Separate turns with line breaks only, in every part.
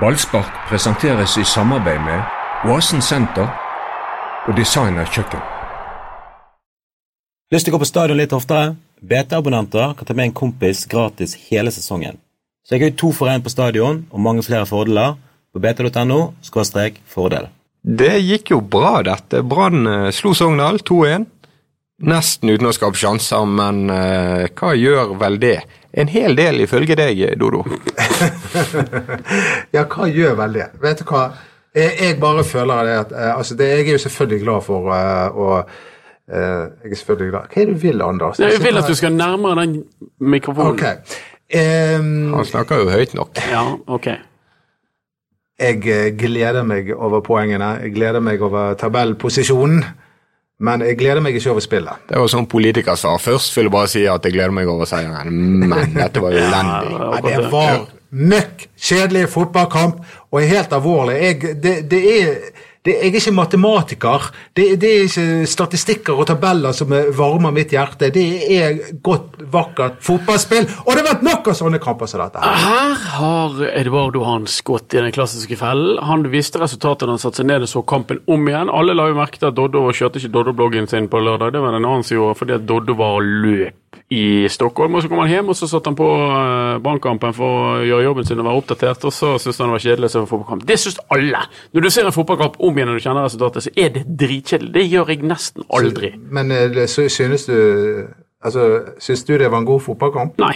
Ballspark presenteres i samarbeid med Oasen Senter og Designer Kjøkken.
Lyst til å gå på stadion litt oftere? BT-abonnenter kan ta med en kompis gratis hele sesongen. Så jeg har jo to for én på stadion, og mange flere fordeler. På bt.no fordel.
Det gikk jo bra, dette. Brann eh, slo Sogndal 2-1. Nesten uten å skape sjanser, men eh, hva gjør vel det? En hel del ifølge deg, Dodo.
Ja, hva gjør vel det? Vet du hva? Jeg, jeg bare føler det at eh, altså det, Jeg er jo selvfølgelig glad for eh, å eh, Jeg er selvfølgelig glad Hva er det du vil, Anders?
Jeg vil at du skal nærmere den mikrofonen.
Ok. Ehm,
Han snakker jo høyt nok.
Ja, ok.
jeg eh, gleder meg over poengene. Jeg gleder meg over tabellposisjonen. Men jeg gleder meg ikke over spillet.
Det var sånn politikersvar. Først vil jeg bare si at jeg gleder meg over seieren, men dette var jo elendig.
Ja,
Ja,
akkurat
det var møkk kjedelig fotballkamp, og er helt alvorlig. Jeg, det, det er, det, jeg er ikke matematiker. Det, det er ikke statistikker og tabeller som eh, varmer mitt hjerte. Det er godt, vakkert fotballspill, og det har vært nok av sånne kamper som dette. her.
Her har Eduardo Hans gått i den klassiske fellen. Han visste resultatet da han satte seg ned og så kampen om igjen. Alle la jo merke til at Doddo kjørte ikke Doddo-bloggen sin på lørdag. Det var det en annen som gjorde, fordi at Doddo var og løp i Stockholm. Og så kom han hjem, og så satt han på eh, Brannkampen for å gjøre jobben sin og være oppdatert. Og så syntes han det var kjedelig å se på fotballkamp. Det syns alle! Når du ser en fotballkamp om igjen og du kjenner resultatet, så er det dritkjedelig. Det gjør jeg nesten aldri.
Men eh, sy- synes du Altså, synes du det var en god fotballkamp?
Nei,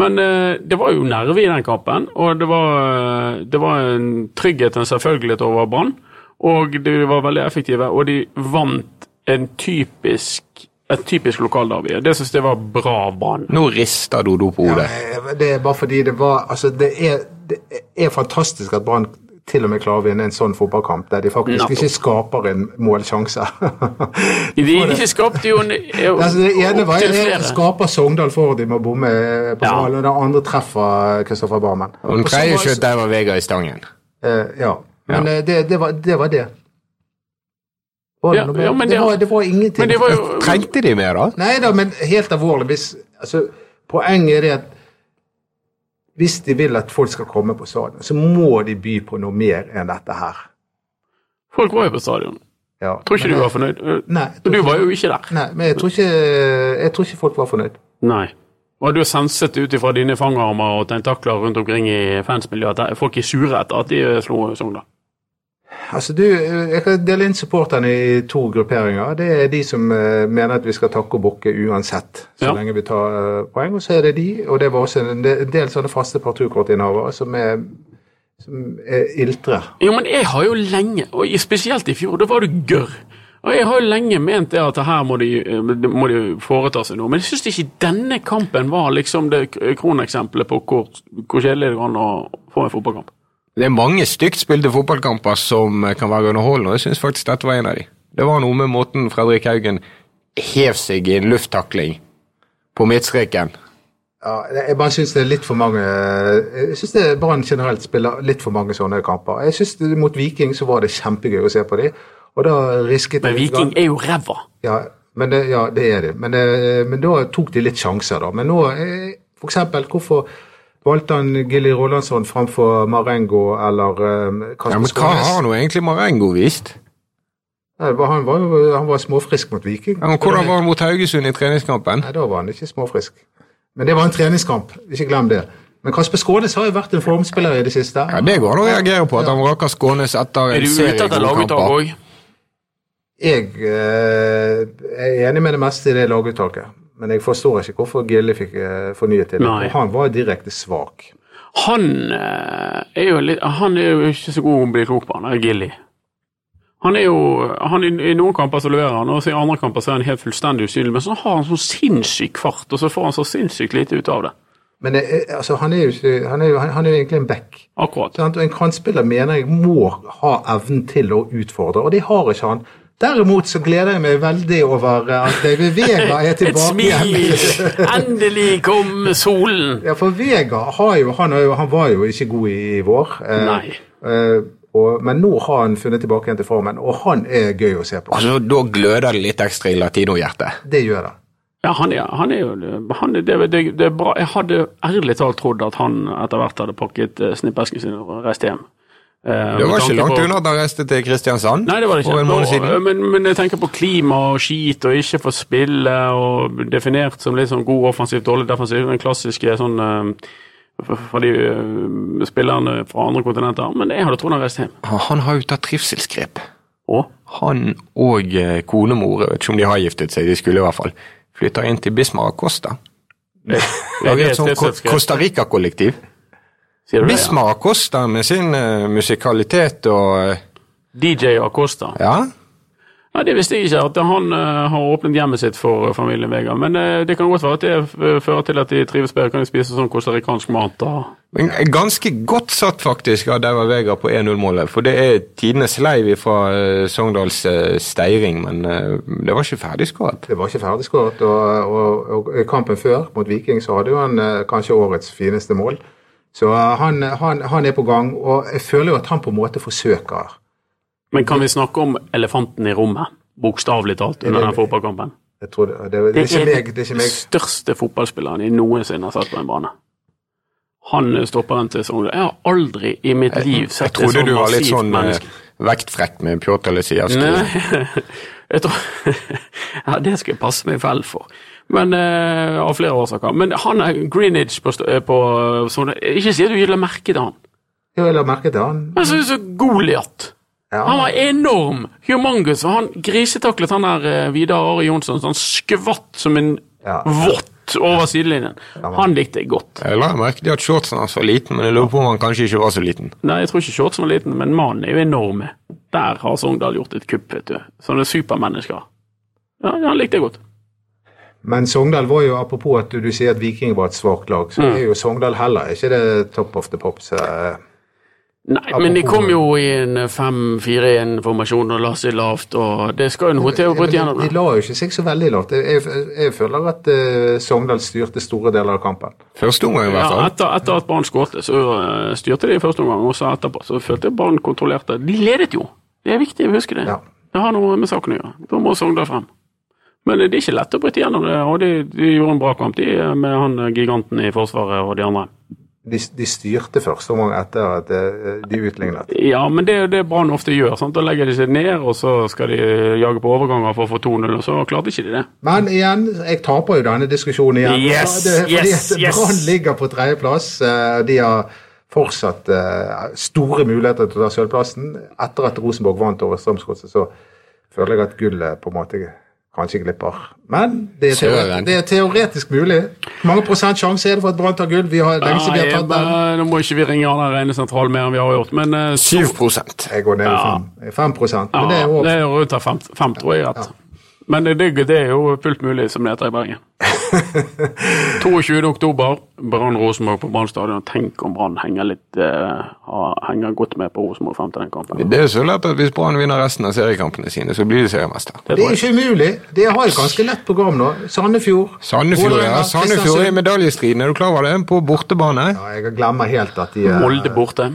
men eh, det var jo nerve i den kampen, og det var, eh, det var en trygghet og en selvfølgelighet over Brann. Og de var veldig effektive, og de vant en typisk, et typisk lokalderby. Det syns jeg var bra av Brann.
Nå rister Dodo på hodet.
Eh, Det er bare fordi det var Altså, det er, det er fantastisk at Brann til og med klarer å vinne en sånn fotballkamp der de faktisk
Nettopp.
ikke skaper en målsjanse.
De, de skapte jo en eh,
altså, det ene var
opptil
jeg
flere.
skaper Sogndal for de med å bomme eh, på
Ja.
mål, og det andre treffer Kristoffer Barmen.
Og den
Og så
tredje
var-
skjøt der var Vegard i stangen.
Eh, ja. Men
Ja.
eh, det, det, var, det var det. Var det
Ja,
noe mer?
ja, men
det,
det-
var, det var ingenting.
Men det var jo
Trengte de mer, da?
Nei da, men helt alvorlig. Hvis, altså, poenget er det at hvis de vil at folk skal komme på stadion, så må de by på noe mer enn dette her.
Folk var jo på stadion.
Ja.
Tror ikke
Men
du
jeg-
var fornøyd. Eh,
Nei, jeg tror
Du
ikke-
var jo ikke der.
Nei, men jeg tror, ikke, jeg tror ikke folk var fornøyd.
Nei. Og du har senset ut ifra dine fangarmer og tentakler rundt omkring i fansmiljøet at folk er sure etter at de eh, slo Sogndal.
Altså, du, jeg kan dele inn supporterne i to grupperinger. Det er de som eh, mener at vi skal takke og bukke uansett, så
Ja.
lenge vi tar eh, poeng. Og så er det de, og det var også en del, en del sånne faste parturkortinnehavere, som er, som er iltre.
Jo, men jeg har jo lenge, og i- spesielt i fjor, da var du gørr. Og jeg har jo lenge ment det at her må de, eh, må de foreta seg noe, men jeg syns ikke denne kampen var liksom det k- kroneksempelet på hvor, hvor kjedelig det går an å få en fotballkamp.
Det er mange stygt spilte fotballkamper som eh, kan være underholdende, og jeg syns faktisk dette var en av de. Det var noe med måten Fredrik Haugen hev seg i en lufttakling på midtstreken.
Ja, jeg bare syns det er litt for mange eh, Jeg syns Brann generelt spiller litt for mange sånne kamper. Jeg synes det- Mot Viking så var det kjempegøy å se på de, og da risket
Men Viking er jo ræva.
Ja, men det, ja, det er det. Men, eh, men da tok de litt sjanser, da. Men nå, eh, for eksempel, hvorfor valgte han Gilly Rolandsson framfor Marengo eller eh,
Ja,
Kasper
men hva
Skånes?
har nå egentlig Marengo vist?
Nei, det var- Han var, jo- han var småfrisk mot Viking.
Ja, men hvordan var han mot Haugesund i treningskampen?
Nei, da var han ikke småfrisk. Men det var en treningskamp, ikke glem det. Men Kasper Skånes har jo vært en formspiller i det siste.
Ja, Det går an å reagere på, at han vraker Skånes etter
Er du
en
ute
serie
etter
gode
laguttak
kamper.
òg?
Jeg eh, er enig med det meste i det laguttaket, men jeg forstår ikke hvorfor Gilly fikk eh, fornyet til.
Nei.
Han var direkte svak.
Han eh, er jo litt Han er jo ikke så god å bli klok på, han er Gilly. Han er jo han, I i noen kamper så leverer han, og så i andre kamper så er han helt fullstendig usynlig. Men så har han sånn sinnssyk fart, og så får han så sinnssykt lite ut av det.
Men eh, altså, han, er jo ikke, han, er jo, han, han er jo egentlig en back.
Akkurat.
Sant? Og En kantspiller mener jeg må ha evnen til å utfordre, og det har ikke han. Derimot så gleder jeg meg veldig over eh, at David Vega er
Et
tilbake
smil!
igjen.
Endelig kom solen!
Ja, for Vega har jo, han, er jo, han var jo ikke god i, i vår. eh,
Nei.
eh, og, men nå har han funnet tilbake igjen til formen, og han er gøy å se på.
Altså, Da gløder det litt ekstra i latinohjertet.
Det gjør det.
Ja, han er, han er jo han er, det, det, det er bra. Jeg hadde ærlig talt trodd at han etter hvert hadde pakket eh, snippesken sin og reist hjem. Eh,
Det
med
var
tanke
ikke langt
på-
unna at han reiste til Kristiansand
Nei, det var det ikke. eh,
for en måned siden.
Og- Men, men jeg tenker på klima og skit, og ikke få spille, og definert som litt sånn god offensiv, dårlig defensiv. Den klassiske sånn eh, f- fra de eh, spillerne fra andre kontinenter. Men jeg hadde trodd han reiste hjem.
Han har jo tatt trivselsgrep.
Og
Han og eh, konemor, jeg vet ikke om de har giftet seg, de skulle i hvert fall, flytter inn til Bismar Acosta. Lager et sånt Ko- Costa Rica-kollektiv.
Sier du det, ja?
Bismar Acosta med sin eh, musikalitet og eh,
DJ Acosta.
Ja,
Nei, Det visste jeg ikke, at han eh, har åpnet hjemmet sitt for eh, familien Vega. Men eh, det kan godt være at det eh, fører til at de trives bedre, kan de spise sånn costaricansk mat. da.
Men ganske godt satt faktisk av Daua Vega på 1-0-målet. For det er tidenes sleiv fra Sogndals eh, steiring, men eh, det var ikke ferdigskåret.
Det var ikke ferdigskåret, og, og, og i kampen før mot Viking så hadde jo han eh, kanskje årets fineste mål. Så eh, han, han, han er på gang, og jeg føler jo at han på en måte forsøker.
Men kan vi snakke om elefanten i rommet? Bokstavelig talt under den fotballkampen.
Jeg tror det, det, det, er ikke meg, det er ikke
den
meg.
største fotballspilleren jeg noensinne har sett på en bane. Han stopper en til Sogndal. Jeg har aldri i mitt liv
Jeg
sett et
trodde
sånt
du var litt
massivt
sånn eh,
menneske.
vektfrekk med Pjotr Lesijevskij.
Nei, jeg tror Ja, det skal jeg passe meg vel for. Men eh, Av flere årsaker. Men han er Greenwich på, st- eh, på Sogndal Ikke si at du ikke la merke til han.
Jo, jeg la merke til han.
Han så ut som Goliat.
Ja.
Han var enorm! Humongous. Og han grisetaklet han der eh, Vidar Are Jonsson, så han skvatt som en
Ja.
vått over sidelinjen. Han likte jeg godt.
Jeg la merke til at shortsen hans var liten, men jeg lurer på om han kanskje ikke var så liten.
Nei, jeg tror ikke shortsen var liten, men mannen er jo enorm. Der har Sogndal gjort et kupp, vet du. Sånne supermennesker. Ja, han likte jeg godt.
Men Sogndal var jo, apropos at du, du sier at Viking var et svakt lag,
Mm.
så er jo Sogndal heller ikke det top of the pops. eh.
Nei, men de kom jo i en 5-4-1-formasjon og la seg lavt, og det skal jo noe til å bryte
Men
gjennom.
De, de
det.
la jo ikke seg så veldig lavt. Jeg, jeg, jeg føler at eh, Sogndal styrte store deler av kampen.
Første omgang, i
Ja,
hvert fall.
etter, etter at Brann skårte, så eh, styrte de i første omgang, og så etterpå så følte jeg Brann kontrollerte. De ledet jo! Det er viktig å huske det.
Ja.
Det har noe med saken å gjøre. Da må Sogndal frem. Men eh, det er ikke lett å bryte gjennom det, og de, de gjorde en bra kamp de, eh, med han eh, giganten i Forsvaret og de andre.
De, de styrte første omgang etter at eh, de utlignet.
Ja, men det er jo det Brann ofte gjør. sant? Da legger de seg ned, og så skal de eh, jage på overganger for å få 2-0, og så klarte ikke de det.
Men igjen, jeg taper jo denne diskusjonen igjen.
Yes,
det, fordi
yes,
at
yes.
Brann ligger på tredjeplass. eh, De har fortsatt eh, store muligheter til å ta sølvplassen. Etter at Rosenborg vant over Strømsgodset, så føler jeg at gullet på en måte kanskje glipper. Men det er, teoretisk,
Søren.
det er teoretisk mulig. Hvor mange prosent sjanse er det for at Brann tar gull? Vi har lenge siden vi har
Nei,
tatt den.
men, eh, Nå må ikke vi ringe han der rene sentral mer enn vi har gjort, men eh,
7 prosent.
Jeg går ned i fem, fem prosent. Men det er
Ja,
jo
det er jo rundt her fem, fem tror jeg. rett. Men det, det, det er jo fullt mulig, som det heter i Bergen. 22. oktober, Brann Rosenborg på Brann stadion. Tenk om Brann henger litt eh, har- henger godt med på Rosenborg frem til den kampen.
Det er så lett at hvis Brann vinner resten av seriekampene sine, så blir de seriemester.
Det
det
tror
er
jeg.
ikke umulig. De har et ganske lett program nå. Sandefjord.
Sandefjord ja.
Vålerenga,
Sandefjord er i
Kristiansund.
medaljestriden, er du klar over det? På bortebane.
Ja, jeg glemmer helt at de eh,
Molde borte.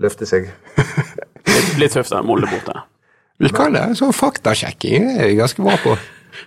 løfter seg.
Litt, litt tøft, det. Molde borte.
Vi kan det. Sånn faktasjekking er jeg ganske bra på.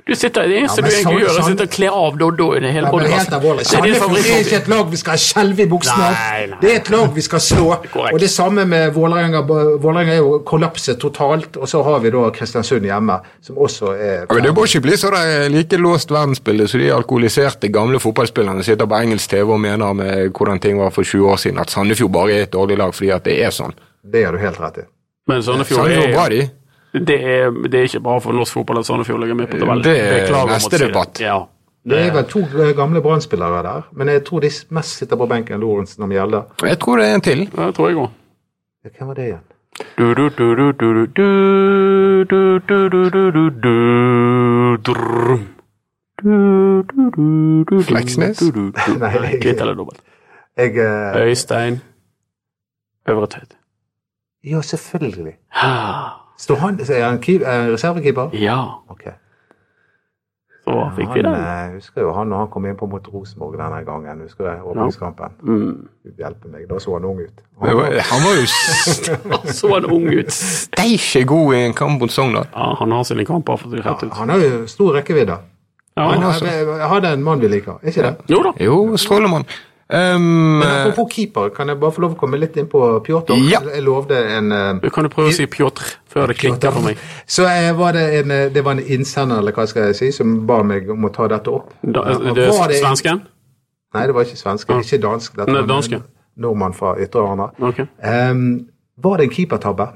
Du sitter, det eneste
Ja, men
du egentlig
Sand-
gjør, er å
Sand-
sitte og kle av Doddo i det hele
Ja, men helt
podcasten.
alvorlig.
Det altså, er din
Sandefjord er ikke
favorittmåltid.
et lag vi skal skjelve i buksene av.
Nei, nei.
Det er et lag vi skal slå.
Korrekt.
Og det samme med Vålerenga. Vålerenga er jo kollapset totalt, og så har vi da Kristiansund hjemme, som også er
Ja, men Det må ikke bli så det er like låst verdensbilde som de alkoholiserte gamle fotballspillerne sitter på engelsk TV og mener med hvordan ting var for 20 år siden, at Sandefjord bare er et dårlig lag fordi at det er sånn.
Det har du helt rett i.
Men Sandefjord
Sandefjord er bra,
er,
de.
det er, det er ikke bra for norsk fotball at Sandefjord ligger med på tabellen.
Det er
Beklager om å
neste
si det.
debatt.
Ja.
Det er vel to eh, gamle Brann-spillere der, men jeg tror de mest sitter på benken Lorentzen og Mjelde.
Jeg tror det er en til.
Det tror jeg òg.
Hvem var det igjen?
Du, du, du, du, du, du, du, du, du, du, du, du, drrrr. Du, du, du, du, du,
Fleksnes?
du, du, du.
Nei, det er ikke-
Kvitt eller dobbelt.
Jeg eh,
Øystein Øvre Tvedt.
Ja, selvfølgelig.
Ah,
Står han Er han keep- er han reservekeeper?
Ja,
Ok.
så fikk vi
Han,
den.
eh, husker jo han når han kom inn på mot Rosenborg denne gangen. Husker du åpningskampen?
Mm.
Gud hjelpe meg, da så han ung ut.
Det var- Han var jo
Så en ung ut.
steike god i en kamp mot Sogndal.
Ja, han har sine kamper, for å si det rett ut.
Han har jo stor rekkevidde.
Ja,
Han er- Han er en mann vi liker, er ikke det?
jo da.
Jo, Strålemann. Ehm,
Men apropos keeper, kan jeg bare få lov å komme litt inn på Pjotr?
Ja.
Jeg lovde en eh,
Du kan jo prøve å si Pjotr før det klikker for meg.
Så eh, var det en, eh, det var en innsender eller hva skal jeg si, som ba meg om å ta dette opp.
Da,
Ja,
det
var
er
det-
svensken?
Nei, det var ikke svensk.
Ja.
Ikke dansk. Dette var
Nei,
en
danske.
Nordmann fra Ytre Arna.
Ok.
Ehm, var det en keepertabbe?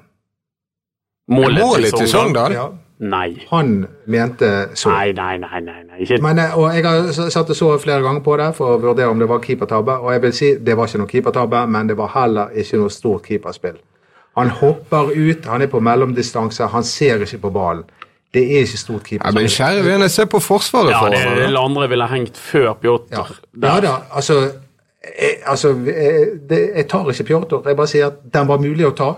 eh, målet til Sogndal?
Ja.
Nei.
Han mente så.
Nei, nei, nei. nei, nei. Ikke
Men, eh, og jeg har s- satt og så flere ganger på det for å vurdere om det var keepertabbe. Og jeg vil si det var ikke noen keepertabbe, men det var heller ikke noe stort keeperspill. Han hopper ut, han er på mellomdistanse, han ser ikke på ballen. Det er ikke stort
Ja, men
keeperspill.
kjære vene, se på forsvaret
Ja,
for
det er
hverandre.
det andre ville hengt før Pjotr.
Ja,
Der.
ja da, altså, jeg, altså jeg, det, jeg tar ikke Pjotr. Jeg bare sier at den var mulig å ta.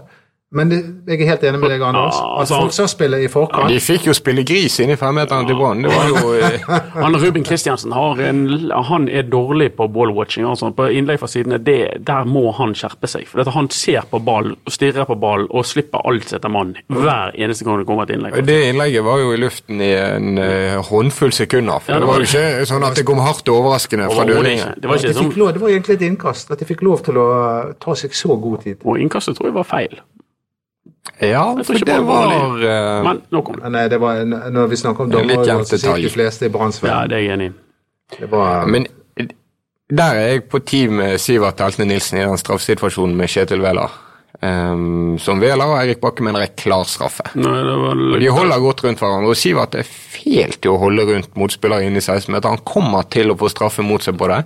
Men det, jeg er helt enig med deg, Anders.
Ja,
At
altså-
forsvarsspillet i
De
forkant
fikk jo spille gris inni femmeteren til Brann. Det var jo eh,
Han Ruben Kristiansen har en, han er dårlig på ballwatching. Altså. På innlegg fra sidene, det, der må han skjerpe seg. For at han ser på ballen, og stirrer på ballen og slipper alt sitt av mann hver eneste gang det kommer et innlegg.
eh, Det innlegget var jo i luften i en eh, håndfull sekunder. For
Ja, det
det
var
var jo ikke sånn at det kom hardt og overraskende fra
Overhodet
dødningen.
ikke. Det var
at de
ikke
fikk
sånn,
lov, Det var egentlig et innkast. At de fikk lov til å eh, ta seg så god tid.
og innkastet tror jeg var feil.
Ja,
Jeg tror
for
ikke
det
bare
var eh,
Men nok om det.
Men eh, det var en, når vi snakker om
En litt
dommere,
jevnt
så sier
detalj.
de fleste i
Ja,
Brannsveien.
det er jeg enig i.
Det var
Men der er jeg på team med Sivert Heltne Nilsen i den straffesituasjonen med Kjetil Wæler. Ehm, som Wæler og Eirik Bakke mener er klar straffe.
Nei, det var
Og De holder godt rundt hverandre, og Sivert er fæl til å holde rundt motspillere inne i 16-meter. Han kommer til å få straffe mot seg på det,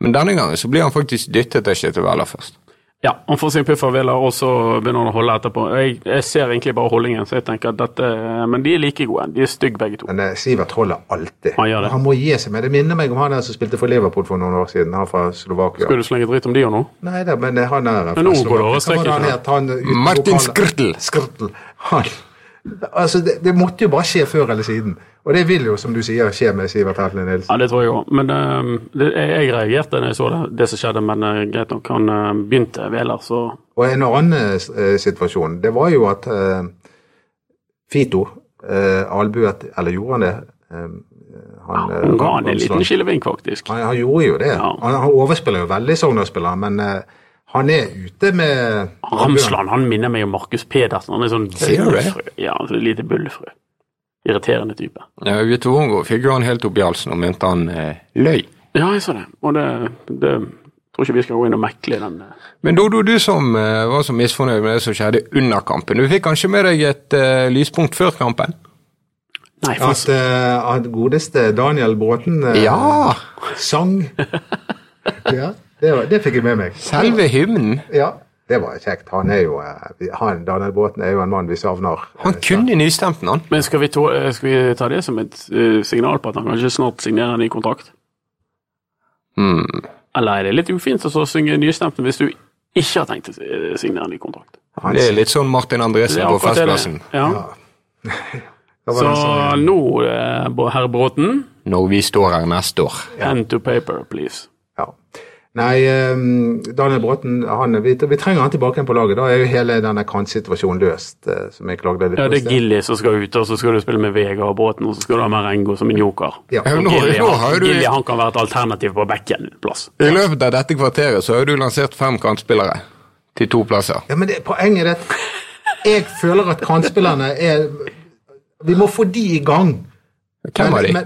men denne gangen så blir han faktisk dyttet til Kjetil Wæler først.
Ja, han får sin puff av Vela, og så begynner han å holde etterpå. Jeg, jeg ser egentlig bare holdningen, så jeg tenker at dette Men de er like gode. De er stygge begge to.
men eh, Sivert holder alltid.
Han gjør det.
må gi seg. Men det minner meg om han der som spilte for Liverpool for noen år siden. Han fra Slovakia.
Skal du slenge dritt om de og nå?
Nei da, men eh, han er fra
Men nå går det
Slovakia.
over
Hva var det han
streken,
het? Han, eh, ut-
Martin
lokale-
Skrtel.
Skrtel. Han, altså, det, det måtte jo bare skje før eller siden. Og det vil jo, som du sier, skje med Sivert Heltne Nilsen.
Ja, det tror jeg òg. Men eh, det, jeg, jeg reagerte når jeg så det, det som skjedde. Men eh, greit nok, han eh, begynte Veler, så
Og en annen eh, situasjon, det var jo at eh, Fito eh, albuet Eller gjorde han det? Eh, han, eh,
han ga han en liten
Ramsland.
skillevink, faktisk.
han, han gjorde jo det.
Ja.
Han, han overspiller jo veldig Sogndal-spillere, men eh, han er ute med
Ramsland han minner meg om Markus Pedersen. Han er sånn
Sier du det?
bullfrø. Ja, altså, et lite bullfrø. Irriterende type.
Ja, Vito Wongo fikk jo han helt opp i halsen og mente han eh, løy.
Ja, jeg så det. Og det, det tror ikke vi skal gå inn og mekle i den. eh.
Men Dodo, du som eh, var så misfornøyd med det som skjedde under kampen, du fikk kanskje med deg et eh, lyspunkt før kampen?
Nei, for
At, eh, at godeste Daniel Bråten eh,
Ja!
sang. Ja, det, var, det fikk jeg med meg.
Selve hymnen.
Ja, det var kjekt. Han er jo, eh, vi- han, Daniel Bråten er jo en mann vi savner.
Han kunne nystemt den, han.
Men skal vi, to, eh, skal vi ta det som et eh, signal på at han kanskje snart signerer en ny kontrakt?
Hmm.
Eller er det litt ufint å så synge nystemten hvis du ikke har tenkt å eh, signere en ny kontrakt?
Han-
Det er litt sånn Martin Andresen
Det er
på
akkurat det det er.
Festplassen.
Ja.
Hva var
Så
det han sang?
nå, eh, Bo- herr Bråten,
Når vi står her neste år.
hand to paper, please.
ja. Nei, eh, Daniel Bråten han, vi, vi trenger han tilbake igjen på laget. Da er jo hele denne kantsituasjonen løst. eh, som jeg klagde litt
Ja,
på i
det er
sted.
Gilly som skal ut, og så skal du spille med Vegard og Bråten, og så skal du ha Marengo som en joker.
Ja.
Ja, nå,
Gilly,
nå har
han,
jo
Gilly
du,
han kan være et alternativ på bekken en plass.
I løpet av dette kvarteret så har du lansert fem kantspillere til to plasser.
Ja, men det, poenget er at jeg føler at kantspillerne er Vi må få de i gang.
Hvem var de?
Men-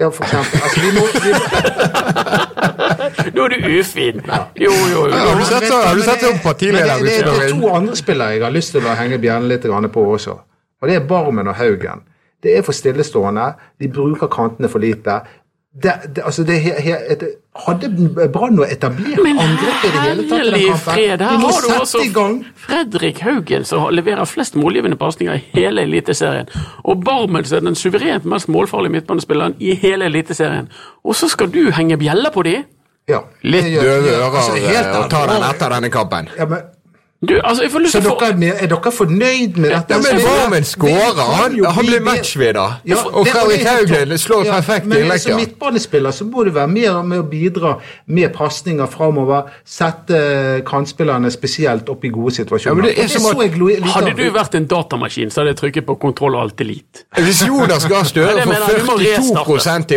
Ja, for eksempel. Altså, vi må, vi må
Nå er du ufin! Jo, jo, jo.
Har du sett så- har du sett sånn partileder-
Men det, det, det er to andre spillere jeg har lyst til å henge bjellen litt grann på også. Og det er Barmen og Haugen. Det er for stillestående. De bruker kantene for lite. Det, det, altså det, he, he, et, hadde Brann noe etablert
Men
angrep i det hele tatt? i den
herlig
kampen?
fred, her
Vi må
har du
sette
altså
i gang.
Fredrik Haugen som har- leverer flest målgivende pasninger i hele Eliteserien. Og Barmen som er den suverent mest målfarlige midtbanespilleren i hele Eliteserien. Og så skal du henge bjeller på de?
Ja,
Litt
det gjør-
døve
ja, altså,
ører
helt
eh, å ta den
alvorlig.
etter denne kampen.
Ja, men
Du, altså, jeg får lyst
Så
til å få
dere, er med- er dere fornøyd med dette?
Ja, men
Så-
Barmen skårer,
Vi
han,
kan jo
han
bli
blir
bedre.
matchvinner.
Ja,
og
det-
Fredrik
det er helt
Haugen
topp.
slår
Ja,
perfekt
men Som
innlegger.
midtbanespiller så må du være mer med å bidra med pasninger framover. Sette eh, kantspillerne spesielt opp i gode situasjoner.
Ja, men det er
Og
som at-
så jeg lo- lite
Hadde
av.
du vært en datamaskin, så hadde jeg trykket på kontroll og alt elite.
Hvis Jonas Gahr
Men
Støre
jeg mener, du må
får
restarte.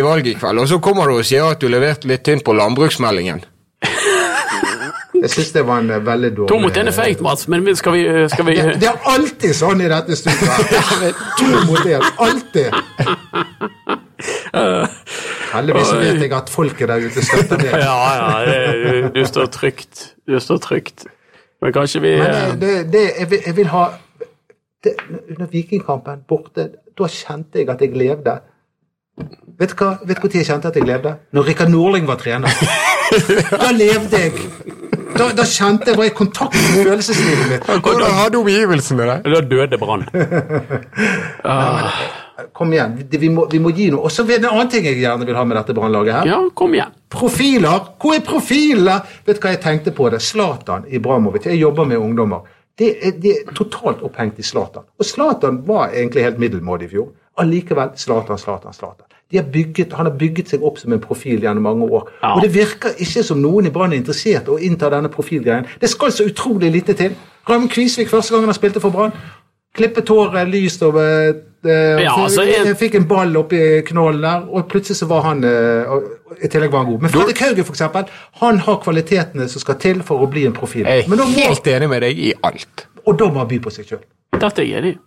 42 i valget i kveld, og så kommer du og sier at du leverte litt inn på landbruksmeldingen
Jeg syns det var en eh, veldig dårlig
To mot én er feigt, Mats, men vi- skal vi, eh, skal vi
Det, det er alltid sånn i dette studioet. To mot én. Alltid. Heldigvis vet jeg at folket der ute støtter meg.
Ja, ja, det, du står trygt. Du står trygt. Men kanskje vi eh,
Men øh, det, det, det jeg, vil, jeg vil ha det, Under Vikingkampen borte, da kjente jeg at jeg levde. Vet du hva, vet du når jeg kjente at jeg levde? Når Rikard Norling var trener. Da levde jeg. Da, da kjente jeg var i kontakt med følelseslivet mitt.
Hvordan hadde omgivelsene det?
Da døde Brann.
Kom igjen, vi vi må, vi må gi noe. Og så vil- en annen ting jeg gjerne vil ha med dette brannlaget her.
Ja, kom igjen.
Profiler! Hvor er profilene? Vet du hva jeg tenkte på det? Zlatan Ibramovic. Jeg jobber med ungdommer. Det er, de er totalt opphengt i Zlatan. Og Zlatan var egentlig helt middelmådig i fjor. Allikevel Zlatan, Zlatan, Zlatan. De har bygget, han har bygget seg opp som en profil gjennom mange år.
Ja.
Og det virker ikke som noen i Brann er interessert i å innta denne profilgreien. Det skal så utrolig lite til. Raymond Kvisvik, første gangen han spilte for Brann. Klippet håret lyst og eh, eh,
Ja, altså,
jeg,
en-
fikk en ball oppi knollen der, og plutselig så var han eh, og, og, I tillegg var han god. Men Fredrik Haugen, for eksempel, han har kvalitetene som skal til for å bli en profil.
Jeg
Men
er
da må,
helt enig med deg i alt.
og da må han by på seg sjøl.
Dette er jeg enig i.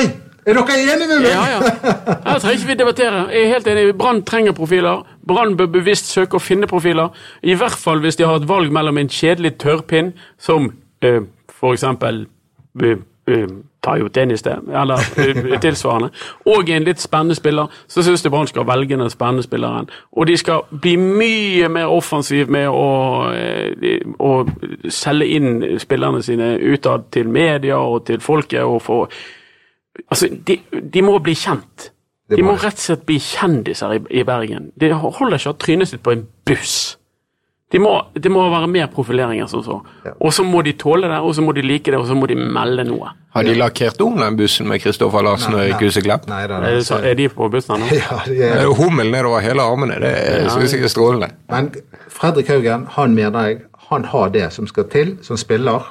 Oi! Er dere enige med meg?
Ja, ja. Her trenger ikke vi debattere. Jeg er helt enig. Brann trenger profiler. Brann bør bevisst søke å finne profiler. I hvert fall hvis de har et valg mellom en kjedelig tørrpinn, som eh, for eksempel eh, eh, Tayo Dennis det, eller eh, tilsvarende, og en litt spennende spiller, så syns jeg Brann skal velge den spennende spilleren. Og de skal bli mye mer offensiv med å, eh, de- å selge inn spillerne sine utad til media og til folket, og få Altså, de, de må bli kjent.
Det
De
må
må
de.
rett og slett bli kjendiser i, i Bergen. Det holder ikke å ha trynet sitt på en buss. De må, det må være mer profilering enn som så. Og så må de tåle det, og så må de like det, og så må de melde noe.
Har de lakkert om den bussen med Kristoffer Larsen og Erik Huseklepp?
Nei, da,
Er, det så, er de på bussen her nå?
Ja, det
Det
er-
er jo Hummel nedover hele armene, det er- synes jeg er strålende.
Men Fredrik Haugen, han mener jeg, han har det som skal til som spiller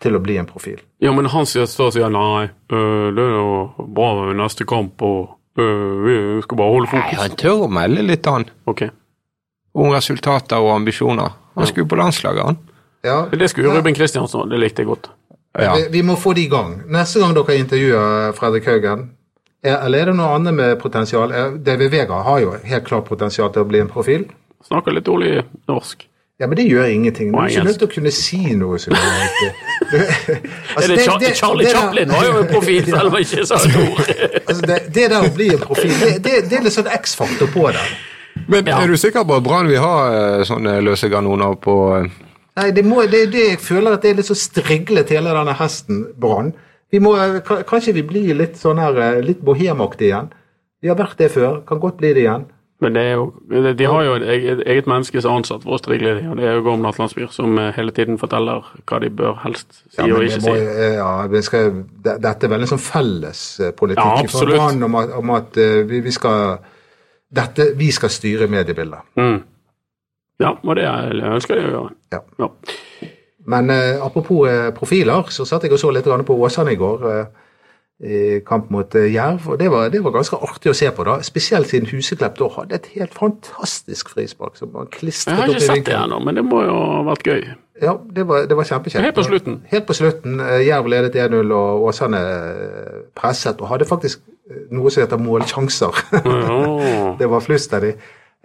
til å bli en profil.
Ja, men han sier, står og sier nei, øh, det er jo bra med neste kamp, og øh, vi skal bare holde
Nei,
fokus.
han tør å melde litt, han.
Ok.
Om resultater og ambisjoner. Han skulle på landslaget, han.
Ja,
Men Det skulle jo Ruben Kristiansen, og det likte jeg godt.
Ja.
vi, vi må få det i gang. Neste gang dere intervjuer Fredrik Haugen, er, eller er det noe annet med potensial? Er- David Vega har jo helt klart potensial til å bli en profil.
Snakker litt dårlig norsk.
Ja, men det gjør ingenting. Du er ikke
engelsk.
nødt til å kunne si noe. Som er riktig. Det- altså,
er det,
det-
Cha-
det-
Charlie
det der-
Chaplin var jo en profil, selv om han ikke sa et ord.
Altså, det, det der å bli en profil, det, det, det er litt sånn X-faktor på det.
Men
Ja.
er du sikker på at Brann vil ha eh, sånne løse kanoner på eh,
Nei, det, må, det er det jeg føler at det er litt så striglet hele denne hesten, Brann. Vi må, eh, ka- Kanskje vi blir litt sånn her, eh, litt bohemaktig igjen. Vi har vært det før, kan godt bli det igjen.
Men det er jo, de har jo et eget, eget menneske som er ansatt for å strigle dem, og det er jo Gorm Natlandsbyr som eh, hele tiden forteller hva de bør helst si og
men
ikke
det
si.
må, eh, ja, vi skal, det, dette er vel en sånn felles eh, politikk
Ja,
fra
absolutt.
Brann om at, om at eh, vi, vi skal dette, Vi skal styre mediebildet.
Mm. Ja, og det ønsker de å gjøre.
Ja.
Ja.
Men eh, apropos eh, profiler, så satt jeg og så litt grann på Åsane i går. Eh, i kamp mot eh, Jerv, og det var, det var ganske artig å se på. da, Spesielt siden Huseklepp da hadde et helt fantastisk frispark. som han klistret
Jeg har
opp i
ikke sett det
vinkelen.
ennå, men det må jo ha vært gøy.
Ja, det var, det var kjempekjekt.
Helt på slutten.
Helt på slutten. eh, Jerv ledet 1-0, og Åsane eh, presset og hadde faktisk eh, noe som heter målsjanser.
Ja.
Det var flust av de.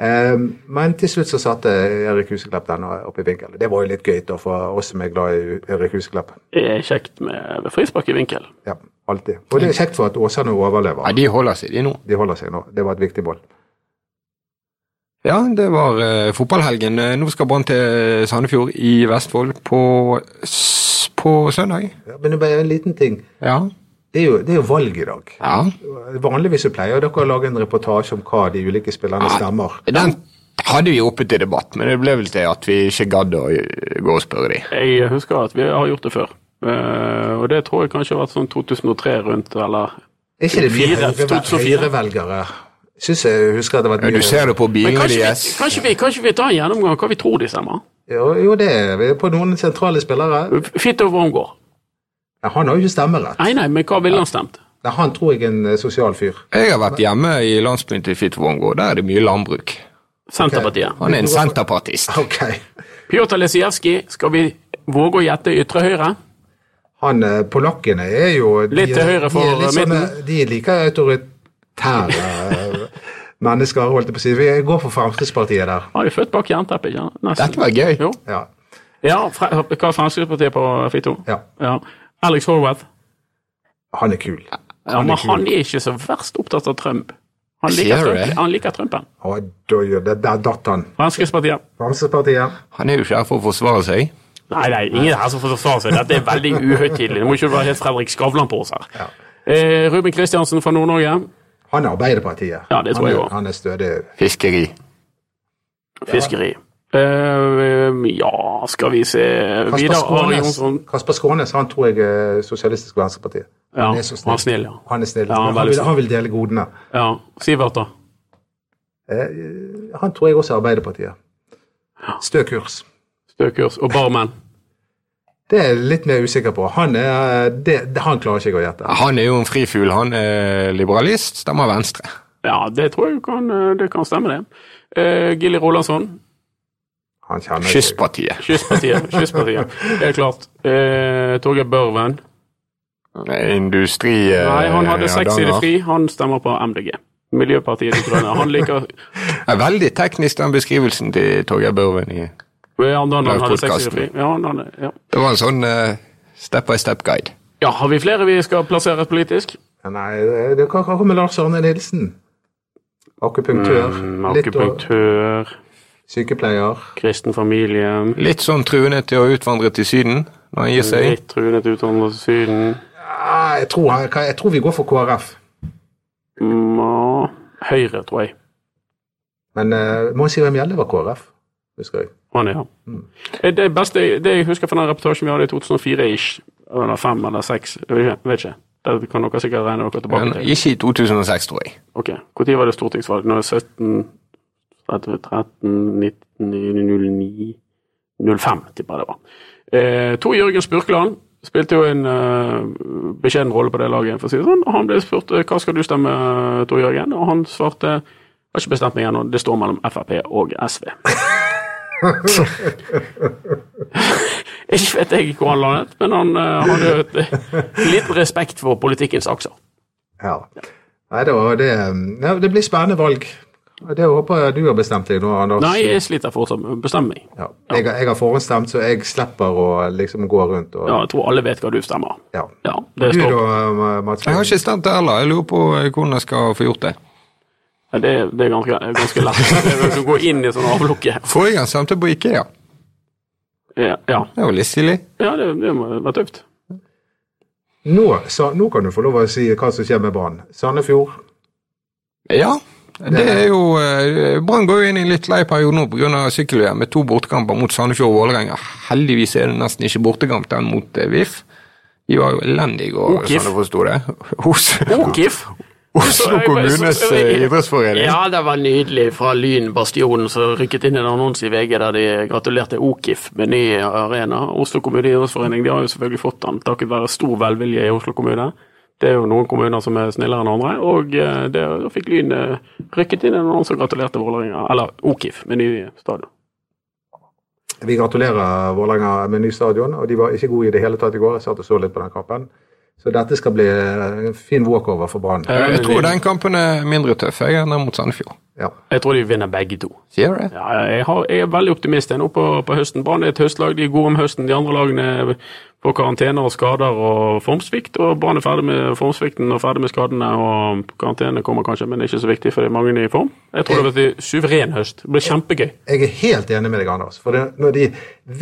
Eh, Men til slutt så satte Erik Huseklepp den opp i vinkelen. Det var jo litt gøy da, for oss som er glad i Erik Huseklepp.
Det er kjekt med frispark i vinkel.
Ja, alltid. Og det er kjekt for at Åsane overlever.
Nei, de holder seg, de nå.
De holder seg nå. Det var et viktig mål.
Ja, det var eh, fotballhelgen. Eh, Nå skal Brann til Sandefjord i Vestfold på, s- på søndag.
Ja, men det er bare en liten ting.
Ja.
Det er jo, det er jo valg i dag.
ja.
Vanligvis så pleier dere å lage en reportasje om hva de ulike spillerne stemmer.
Den hadde vi oppe til debatt, men det ble vel til at vi ikke gadd å eh, gå og spørre de.
Jeg husker at vi har gjort det før. Eh, og det tror jeg kanskje har vært sånn 2003 rundt, eller
Er ikke det
Fire,
fire høyre-
2004.
høyrevelgere? Syns jeg husker at det var
Ja,
mye-
du ser det på
Men
bilene
kanskje vi,
deres.
kanskje, vi, kanskje vi tar en gjennomgang av hva vi tror de stemmer?
Jo, jo, det er vi på noen sentrale spillere.
Fitt over omgår.
Ja, han har jo ikke stemmerett.
Nei, nei, men hva ville han stemt?
Nei, han tror jeg er en eh, sosial fyr.
Jeg har vært hjemme i landsbyen til Fitvångå. Der er det mye landbruk.
Senterpartiet.
Han er en senterpartist.
Ok.
Pjotr Lesijevskij, skal vi våge å gjette ytre høyre?
Han eh, polakkene er jo de
Litt
er-
til høyre for
de er litt sånne- De er like autoritære eh, mennesker, holdt jeg på å si. Vi går for Fremskrittspartiet der.
Han er jo født bak jernteppet, ikke sant? Nesten.
Dette var gøy.
Jo.
Ja.
Ja, fra, hva er Fremskrittspartiet på Fito?
ja.
Ja. Alex Horwath.
Han er kul.
Ja, men han er ikke så verst opptatt av Trump. Han liker,
Ser du det?
Trump, han liker Trumpen.
Å, da gjør det- Der datt han.
Fremskrittspartiet.
Fremskrittspartiet.
Han er jo ikke her for å forsvare seg.
Nei, nei, ingen her som får forsvare seg. Dette er veldig uhøytidelig. Det må ikke være helt Fredrik Skavlan på oss her.
Ja.
Eh, Ruben Kristiansen fra Nord-Norge.
Han er Arbeiderpartiet.
Ja, det tror
han,
jeg
er-
også.
Han er stødig.
Fiskeri.
Fiskeri. Eh, ja, skal vi se
Kasper
Vidar Ari
Skånes,
Jonsson.
Kasper Skånes han tror jeg er Sosialistisk Venstreparti.
Ja,
han er så snill.
han er snill, ja.
Han er snill.
Ja, han er
han,
veldig
vil,
snill.
han vil dele godene.
Ja, Sivert, da.
Eh, Han tror jeg også er Arbeiderpartiet. Stø kurs.
Stø kurs. Og Barmen.
Det er jeg litt mer usikker på. Han, er, det, det- han klarer ikke jeg å gjette.
Han er jo en frifugl. Han er liberalist, stemmer Venstre.
Ja, det tror jeg kan, eh, det kan stemme, det. Eh, Gilly Rolandsson,
Han kjenner jeg.
Kystpartiet.
Kystpartiet. Kystpartiet, Det er klart. Eh, Torgeir Børven.
Industri... eh,
Nei, han hadde sex i det
Hardanger.
fri. Han stemmer på MDG. Miljøpartiet De Grønne. Han liker
Ja, veldig teknisk, den beskrivelsen til Torgeir Børven. i-
Ja, han, han hadde sex i det
podcasten.
fri. Ja, han, hadde- ja.
Det var en sånn step-by-step-guide.
ja, har vi flere vi skal plasseres politisk?
Nei, det- det kan komme Lars Arne Nilsen. Akupunktør.
Mm,
litt og
Akupunktør,
sykepleier.
kristen familie,
Litt sånn truende til å utvandre til Syden når han gir seg.
litt truende til utvandrere til Syden,
Ah, jeg, tror, han- jeg tror vi går for KrF.
Mm, og Høyre, tror jeg.
Men uh, Mons Ivar Mjelde var KrF, husker jeg.
Han er, ja. Eh, Det beste det jeg husker fra den reportasjen vi hadde i 2004-ish, eller fem eller seks, jeg vet ikke- vet ikke. Det kan dere sikkert regne dere tilbake
Men
til.
ikke i 2006, tror jeg.
Ok, Når var det stortingsvalg? Nå er det 17 30, 13, 19, 09 05, tipper jeg det var. Eh, Tor Jørgen Spurkland spilte jo en eh, beskjeden rolle på det laget. for å si det sånn. Og Han ble spurt eh, hva skal du stemme, Tor Jørgen, og han svarte jeg har ikke bestemt meg ennå, det står mellom Frp og SV. ikke vet jeg hvor han landet, men han eh, hadde jo et eh, litt respekt for politikkens akser.
Ja. Nei, det, var, det, um, ja, det blir spennende valg. Det håper jeg du har bestemt deg nå, Anders.
Nei, jeg sliter fortsatt med å bestemme meg.
Ja. Jeg, har- jeg har forhåndsstemt, så jeg slipper å liksom gå rundt og
Ja, jeg tror alle vet hva du stemmer.
Ja.
Ja, det
Du
står
da, Mats?
Jeg har ikke stemt det heller. Jeg lurer på eh, hvordan jeg skal få gjort det.
Ja, det, det er ganske, ganske lett. Det er å gå inn i sånn avlukke.
Forrige gang stemte jeg på Ikea.
Ja, ja.
Det var litt stilig.
ja det, det må være tøft.
Nå, sa- nå kan du få lov å si hva som skjer med Brann. Sandefjord.
Ja, det er jo eh, Brann går jo inn i en litt lei periode nå pga. sykkel-VM med to bortekamper mot Sandefjord og Vålerenga. Heldigvis er det nesten ikke bortekamp den mot eh, VIF. De var jo elendige i går,
Og
sånn
KIF.
jeg forsto det. Hos
Okif!
Oslo kommunes eh, idrettsforening.
Ja, det var nydelig fra Lynbastionen som rykket inn en annonse i VG der de gratulerte Okif med ny arena. Oslo kommune idrettsforening de har jo selvfølgelig fått den takket være stor velvilje i Oslo kommune. Det er jo noen kommuner som er snillere enn andre, og eh, det, da fikk Lyn eh, rykket inn en annonse og gratulerte Vålerenga, eller Okif, med ny stadion.
Vi gratulerer Vålerenga med ny stadion, og de var ikke gode i det hele tatt i går. Jeg satt og så litt på den kampen. Så dette skal bli en fin walkover for Brann.
Ja.
Eh, Jeg tror den kampen er mindre tøff jeg, enn den mot Sandefjord.
Ja.
Jeg tror de vinner begge to.
Sier du det?
Ja, jeg, har, jeg er veldig optimist jeg nå på, på høsten. Brann er et høstlag, de er gode om høsten. De andre lagene er på karantene og skader og formsvikt. Og Brann er ferdig med formsvikten og ferdig med skadene. Og karantene kommer kanskje, men det er ikke så viktig, for det er mange i form. Jeg tror det blir en suveren høst. Det blir kjempegøy.
Jeg er helt enig med deg, Anders. For det, når de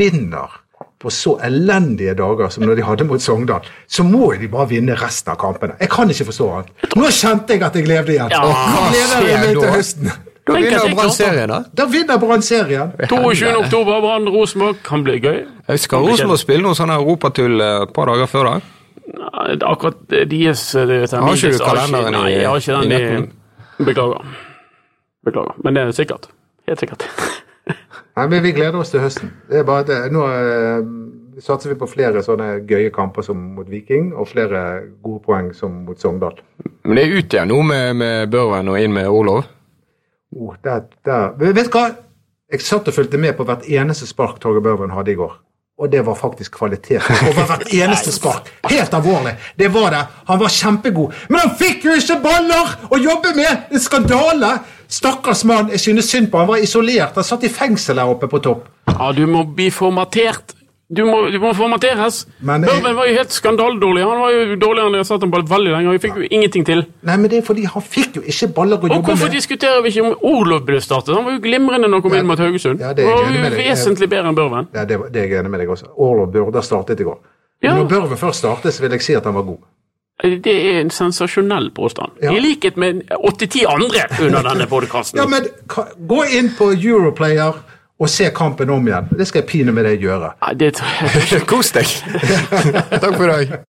vinner på så elendige dager som når de hadde mot Sogndal, så må de bare vinne resten av kampene. Jeg kan ikke forstå annet. Nå kjente jeg at jeg levde igjen.
Ja.
Nå gleder jeg meg
Hva skjer
til
da?
høsten.
Da
Tenk at
vinner
jeg
Brann
klarte det.
serien, da.
Da vinner Brann serien!
22. oktober, Brann Rosenborg. Kan bli gøy.
Jeg skal Rosenborg spille noe sånn her europatull eh, et par dager før da.
Nei, det er Akkurat deres eh, termin
Har ikke du
jeg har ikke-
kalenderen i-
Nei, jeg har ikke den
i
i Beklager. Beklager. Men det er sikkert. Helt sikkert.
Nei, men vi gleder oss til høsten. Det er bare at eh, nå eh, satser vi på flere sånne gøye kamper som mot Viking, og flere gode poeng som mot Sogndal.
Men det er ut igjen nå med, med Børven og inn med Olov.
Oh, der, der. Men Vet du hva? Jeg satt og fulgte med på hvert eneste spark Torgeir Børven hadde i går. Og det var faktisk kvalitet over hvert eneste spark. Helt alvorlig. Det var det. Han var kjempegod. Men han fikk jo ikke baller å jobbe med! En skandale! Stakkars mann. Jeg synes synd på han. Han var isolert. Han satt i fengsel her oppe på topp.
Ja, du må bli formatert. Du må, du må formateres.
Men jeg-
Børven var jo helt skandaledårlig. Han var jo dårligere enn jeg har satt ham på veldig lenge. og Vi fikk jo ingenting til.
Nei, men det er fordi han fikk jo ikke baller å
Og
jobbe
hvorfor
med.
diskuterer vi ikke om Olov burde startet? Han var jo glimrende når han kom inn mot Haugesund.
ja,
Han
det er jeg
var
enig med
jo
deg.
vesentlig bedre enn Børven.
Ja, det, var- det er jeg enig med deg også. Orlov burde ha startet i går.
Ja.
Når Børven først startet, så vil jeg si at han var god.
Altså, Det er en sensasjonell påstand.
Ja.
I likhet med 80-10 andre under denne podkasten.
Ja, men ka- gå inn på Europlayer og se kampen om igjen. Det skal jeg pine med deg gjøre.
det tror jeg
Kos deg! Takk for i dag.